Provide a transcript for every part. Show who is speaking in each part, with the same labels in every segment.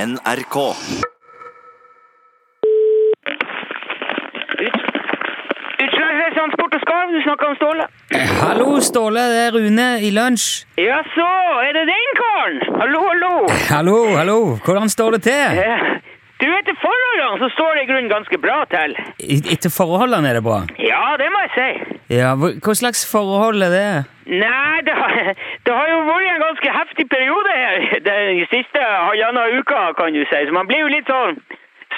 Speaker 1: NRK.
Speaker 2: Utslagsreisandsport og skarv, du snakker om Ståle.
Speaker 3: Hallo, Ståle. Det er Rune i lunsj.
Speaker 2: Jaså, er det den karen? Hallo, hallo.
Speaker 3: Hallo, hallo. Hvordan står det til?
Speaker 2: Eh, Du vet, til forholdene så står det i grunnen ganske bra til.
Speaker 3: Et- Etter forholdene er det bra?
Speaker 2: Ja, det må jeg si.
Speaker 3: Ja, hva hva slags forhold er det?
Speaker 2: Nei, det har, det har jo vært en ganske heftig periode her den siste halvannen uka, kan du si. Så man blir jo litt sånn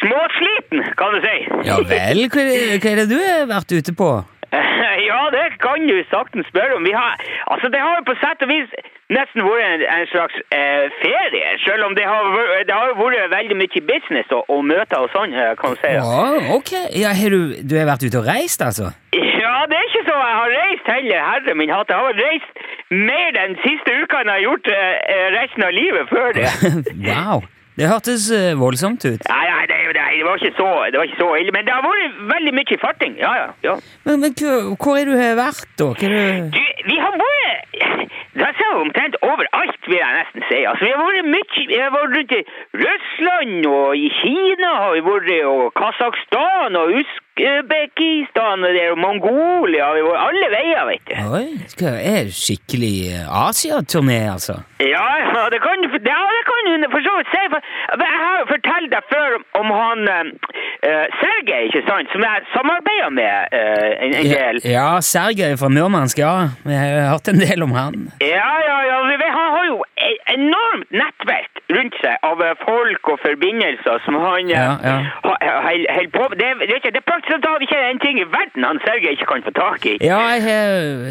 Speaker 2: småsliten, kan du si.
Speaker 3: Ja vel, hva er det, hva er det du har vært ute på?
Speaker 2: Ja, det kan du saktens spørre om. Vi har, altså, det har jo på sett og vis nesten vært en, en slags eh, ferie, selv om det har, vært- det har jo vært veldig mye business og, og møter og sånn, eh, kan du si.
Speaker 3: Ja,
Speaker 2: da.
Speaker 3: ok. Ja, har du, du har vært ute og reist, altså?
Speaker 2: Ja, det er ikke så jeg har reist heller, herre min hatt. Jeg har reist mer den siste uka enn jeg har gjort eh, eh, resten av livet før det.
Speaker 3: wow. Det hørtes eh, voldsomt ut.
Speaker 2: Nei, nei, det, nei det, var ikke så, det var ikke så ille, men det har vært veldig mye farting. Ja, ja, ja.
Speaker 3: Men, men hva- hvor er du har vært, da? Hva er
Speaker 2: Du, vi har vært Det er så omtrent overalt, vil jeg nesten si. Altså, vi har vært mye Vi har vært rundt i Russland og i Kina, og vi har vært i og Kasakhstan og Usbekistan og der, og Mongolia Vi har vært alle veier, vet du.
Speaker 3: du Oi, hva er det skikkelig eh, Asia-turné, altså?
Speaker 2: Ja, ja, det kan du ja, det kan du for så vidt si. For, men jeg har jo fortalt deg før om, om han uh, Sergej, ikke sant, som jeg samarbeider med eh, en, en
Speaker 3: Ja,
Speaker 2: del.
Speaker 3: ja Sergej fra Murmansk, ja. Jeg har hørt en del om han.
Speaker 2: Ja, ja, ja. vi vet- Han har jo et enormt nettverk rundt seg av eh, folk og forbindelser som han eh,
Speaker 3: Ja, ja.
Speaker 2: holder på med. Det, er- det, er ikke- det er praktisk talt ikke en ting i verden han Sergej ikke kan få tak i.
Speaker 3: Ja, jeg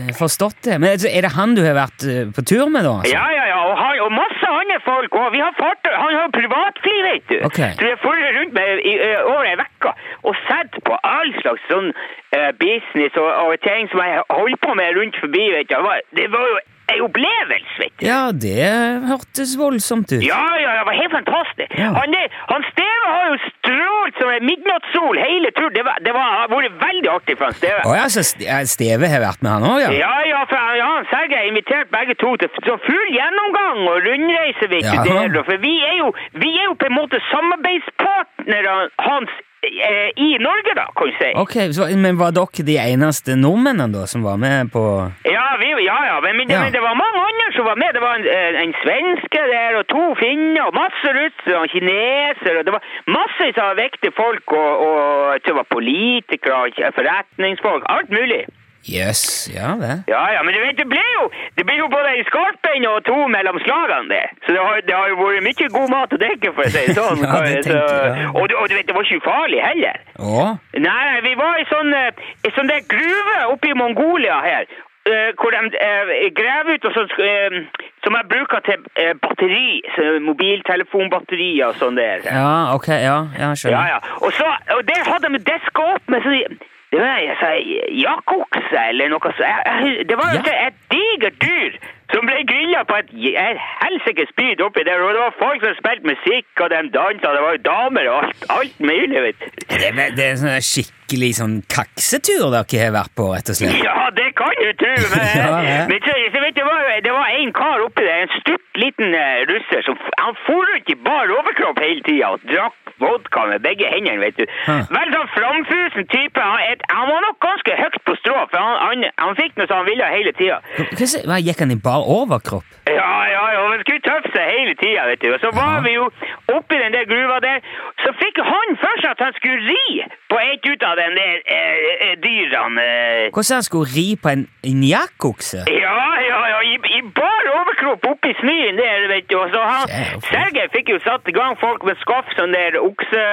Speaker 3: har forstått det. Men altså, er det han du har vært eh, på tur med, da? altså?
Speaker 2: Ja, ja, ja, og, han, og masse andre folk òg. Han har jo privatfly, vet du.
Speaker 3: Ok.
Speaker 2: Så vi har fulgt rundt med i eh, over ei uke og sett på all slags sånn eh, business og, og ting som jeg holdt på med rundt forbi, vet du. Det var, det var jo ei opplevelse, vet du.
Speaker 3: Ja, det hørtes voldsomt ut.
Speaker 2: Ja, ja, det var helt fantastisk.
Speaker 3: Ja.
Speaker 2: Han, er- han Steve har jo strålt som en midnattssol hele turen. Det, var, det var, har vært veldig artig for han Steve.
Speaker 3: Å ja, så Ste- ja, Steve har vært med han òg, ja?
Speaker 2: Ja, ja, for han- ja, han Sergej har invitert begge to til f- så full gjennomgang og rundreise, vet du.
Speaker 3: Jaha.
Speaker 2: Der, og for vi er, jo, vi er jo på en måte samarbeidspartnere hans eh, i Norge, da, kan du si.
Speaker 3: Ok, så, Men var dere de eneste nordmennene da som var med på
Speaker 2: Ja, vi, ja, ja, men, men,
Speaker 3: Ja.
Speaker 2: men det var mange andre som var med. Det var en, en, en svenske der, og to finner, og masse russere, og kinesere, og det var masse av vektige folk, og, og jeg tror det var politikere, og forretningsfolk, alt mulig.
Speaker 3: Jøss, ja det.
Speaker 2: Ja, ja, men du vet, det ble jo, det ble jo både en skarpen og to mellom slagene, det. Så det har, det har jo vært mye god mat å drikke, for å si det sånn.
Speaker 3: Ja, det
Speaker 2: så,
Speaker 3: tenkte jeg, ja.
Speaker 2: og, du- og du vet, det var ikke farlig heller.
Speaker 3: Å?
Speaker 2: Nei, nei, vi var i sånn, eh, i sånn der gruve oppe i Mongolia her, eh, hvor de eh, graver ut og sånn, sk- eh, som jeg bruker til eh, batteri, så mobiltelefonbatterier og sånn der.
Speaker 3: Ja, ok, ja, ja
Speaker 2: Ja,
Speaker 3: skjønner.
Speaker 2: ja. Og, så, og der hadde de deska opp med sånn, det var jeg sa, jakokse eller noe sånt. Jeg- jeg- Det var jo
Speaker 3: Ja.
Speaker 2: et digert dyr som ble grilla på et, j- et helsikes spyd oppi der, og det var folk som spilte musikk, og de dansa, det var jo damer og alt, alt mulig, vet du.
Speaker 3: Det, er- det er en sånn skikkelig sånn kaksetur dere har vært på, rett og slett.
Speaker 2: Ja, det kan du tro! Men,
Speaker 3: Ja, ja.
Speaker 2: men så, så vet du, det, var, jo- det var en kar oppi der, en stutt liten eh, russer, som f- han for rundt i bar overkropp hele tida og drakk vodka med begge hendene, vet du.
Speaker 3: Hæ.
Speaker 2: Vel sånn framfusen type. Han, et, han var nok ganske høyt på strå, for han, han, han fikk noe som han ville hele tida.
Speaker 3: Hva, s- hva, gikk han i bar overkropp?
Speaker 2: Ja, ja, ja, man skulle tøffe seg hele tida, vet du. Og så var
Speaker 3: Ja.
Speaker 2: vi jo oppi den der gruva der, så fikk han for seg at han skulle ri på et ut av den der eh, eh, dyrene. Eh,
Speaker 3: Hvordan han skulle ri på en, en jakokse?
Speaker 2: Ja, ja, ja, i, i bar overkropp oppi snøen der, vet du. Og så han,
Speaker 3: Sjef.
Speaker 2: Sergej fikk jo satt i gang folk med skaff sånn der okse...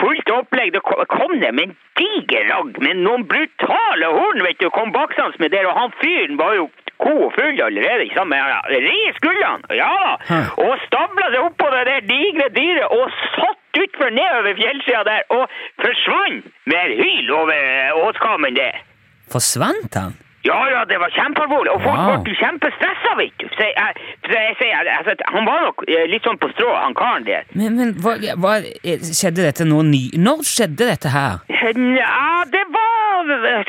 Speaker 2: Fullt opplegg. Det ko- kom det med en diger ragg med noen brutale horn, vet du. Kom baksans med der, og han fyren var jo ko full allerede, ikke sant? Men han ri skuldrene, ja da.
Speaker 3: Hm.
Speaker 2: Og stabla seg opp på det der digre dyret og satt utfor nedover fjellsida der og forsvant med et hyl over eh, åskammen der.
Speaker 3: Forsvant han?
Speaker 2: Ja, ja, det var kjempealvorlig. Og folk
Speaker 3: Wow.
Speaker 2: ble jo kjempestressa, vet du. Så jeg, så jeg sier, altså, at han var nok eh, litt sånn på strå, han karen der.
Speaker 3: Men, men hva, hva, eh, skjedde dette nå ny... Når skjedde dette her?
Speaker 2: Nja, det var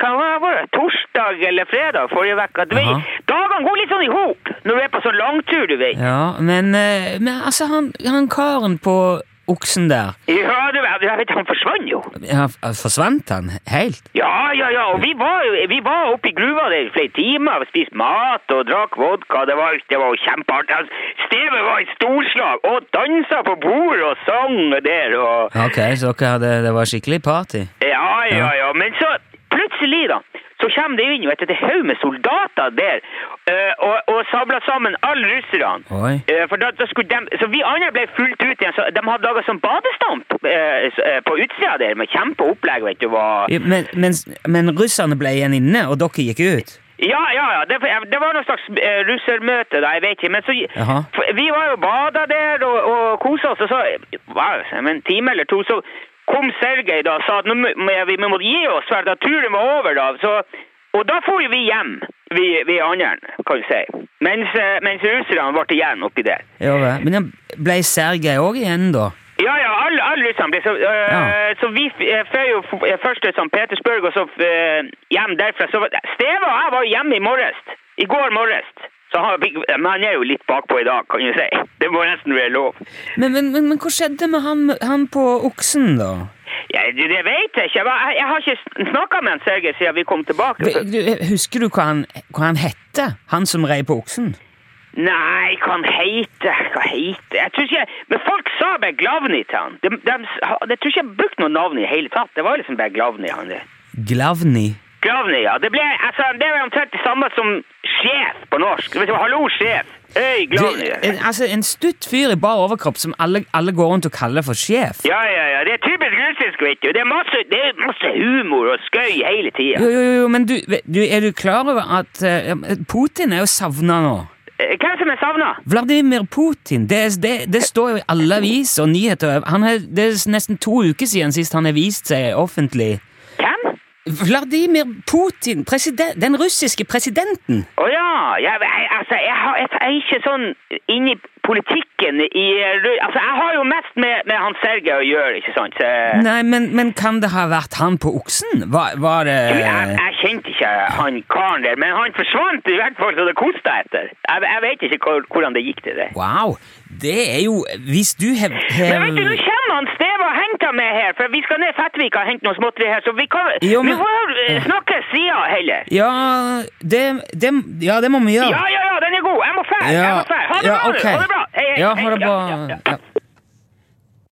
Speaker 2: Hva var det? Torsdag eller fredag forrige uke. Du vet,
Speaker 3: Jaha.
Speaker 2: Dagene kan gå litt sånn i hop når du er på sånn langtur, du vet.
Speaker 3: Ja, men, eh, men altså, han, han karen på oksen der
Speaker 2: Ja, du, jeg vet, han forsvant jo.
Speaker 3: ja, f- Forsvant han helt?
Speaker 2: Ja, ja, ja, og vi var, jo- vi var oppe i gruva der i flere timer og spiste mat og drakk vodka. Det var, det var jo kjempeartig. Altså, Stevet var et storslag og dansa på bordet og sang der og
Speaker 3: Ok, så dere hadde, det var skikkelig party?
Speaker 2: Ja, ja,
Speaker 3: Ja.
Speaker 2: ja. Men så plutselig, da, så kommer det inn jo et et haug med soldater der eh, og, og sabler sammen alle russerne.
Speaker 3: Oi.
Speaker 2: Eh, For da, da skulle dem, så vi andre ble fulgt ut igjen, så de hadde laget sånn badestamp eh, s- eh, på utsida der, med kjempeopplegg, vet du, var...
Speaker 3: Ja, Men, men, men russerne ble igjen inne, og dere gikk ut?
Speaker 2: Ja, ja, ja, det, det var noe slags eh, russermøte da, jeg vet ikke, men så...
Speaker 3: Jaha.
Speaker 2: for Vi var jo bada der og, og koset oss, og så, hva, om en time eller to, så kom Sergej da og sa at nå må, må- vi må gi oss, for da turen var over da, så... Og da får vi hjem, vi, vi andre, kan vi si. Mens, eh, mens russerne ble igjen oppi der.
Speaker 3: Ja, vel. men han ble Sergej òg igjen, da?
Speaker 2: Ja, ja, alle, alle russerne ble så, øh,
Speaker 3: Ja.
Speaker 2: så vi uh, før jo f- øh, først til St. Petersburg og så øh, hjem derfra. Så var- Steve og jeg var jo hjemme i morges. I går morges. Så han, fikk- men han er jo litt bakpå i dag, kan du si. Det må nesten være lov.
Speaker 3: Men, men, men, men hva skjedde med han, han på oksen, da?
Speaker 2: Ja, det, det vet jeg ikke. Jeg, var- jeg, jeg har ikke snakka med han Sergej siden vi kom tilbake.
Speaker 3: Ve- du- Husker du hva han, hva han hette? Han som rei på oksen?
Speaker 2: Nei, hva han heter Hva heter Jeg tror ikke jeg, Men folk sa Beglavni til han. De, de, jeg tror ikke jeg brukte noe navn i det hele tatt. Det var liksom Beglavni han det.
Speaker 3: Glavni?
Speaker 2: Gravny, ja. Det ble, altså, det er omtrent det samme som sjef på norsk. Vet du, Hallo, sjef. Øy,
Speaker 3: Du,
Speaker 2: Gravny.
Speaker 3: en, altså, en stutt fyr i bar overkropp som alle, alle går rundt og kaller for sjef?
Speaker 2: Ja, ja, ja. Det er typisk russisk, vet du. Det er masse, det er masse humor og skøy hele tida.
Speaker 3: Jo, jo, jo, men du, du, er du klar over at eh, Putin er jo savna nå?
Speaker 2: Eh, Hvem som er savna?
Speaker 3: Vladimir Putin, det, er- det, det står jo i alle aviser og nyheter. Han er, det er nesten to uker siden sist han har vist seg offentlig.
Speaker 2: Hvem?
Speaker 3: Vladimir Putin, presiden- den russiske presidenten!
Speaker 2: Å ja. Jeg, jeg, altså, jeg, har, jeg, er ikke sånn inni politikken i Ru- Altså, jeg har jo mest med, med han Sergej å gjøre, ikke sant? Så,
Speaker 3: Nei, men, men kan det ha vært han på oksen? Var, var
Speaker 2: jeg, jeg,
Speaker 3: det
Speaker 2: jeg kjente ikke han karen der, men han forsvant i hvert fall så det kosta etter. Jeg, jeg vet ikke hvor, hvordan det gikk til det.
Speaker 3: Wow! Det er jo Hvis du har
Speaker 2: Men vet du, nå kommer han Steve og henter meg her, for vi skal ned Fettvika og hente noe småtteri her, så vi kan
Speaker 3: Jo, men-
Speaker 2: Vi får eh, snakke sida heller.
Speaker 3: Ja, det, det, ja, det må vi
Speaker 2: Ja,
Speaker 3: gjøre.
Speaker 2: ja, ja, den er god. Jeg må fære.
Speaker 3: Ja,
Speaker 2: Jeg må fære. Ha det
Speaker 3: ja,
Speaker 2: bra,
Speaker 3: ok.
Speaker 2: du. Ha det bra. Hei, hei.
Speaker 3: Ja, ha det
Speaker 2: hei.
Speaker 3: bra.
Speaker 2: Ja, ja, ja.
Speaker 3: Ja.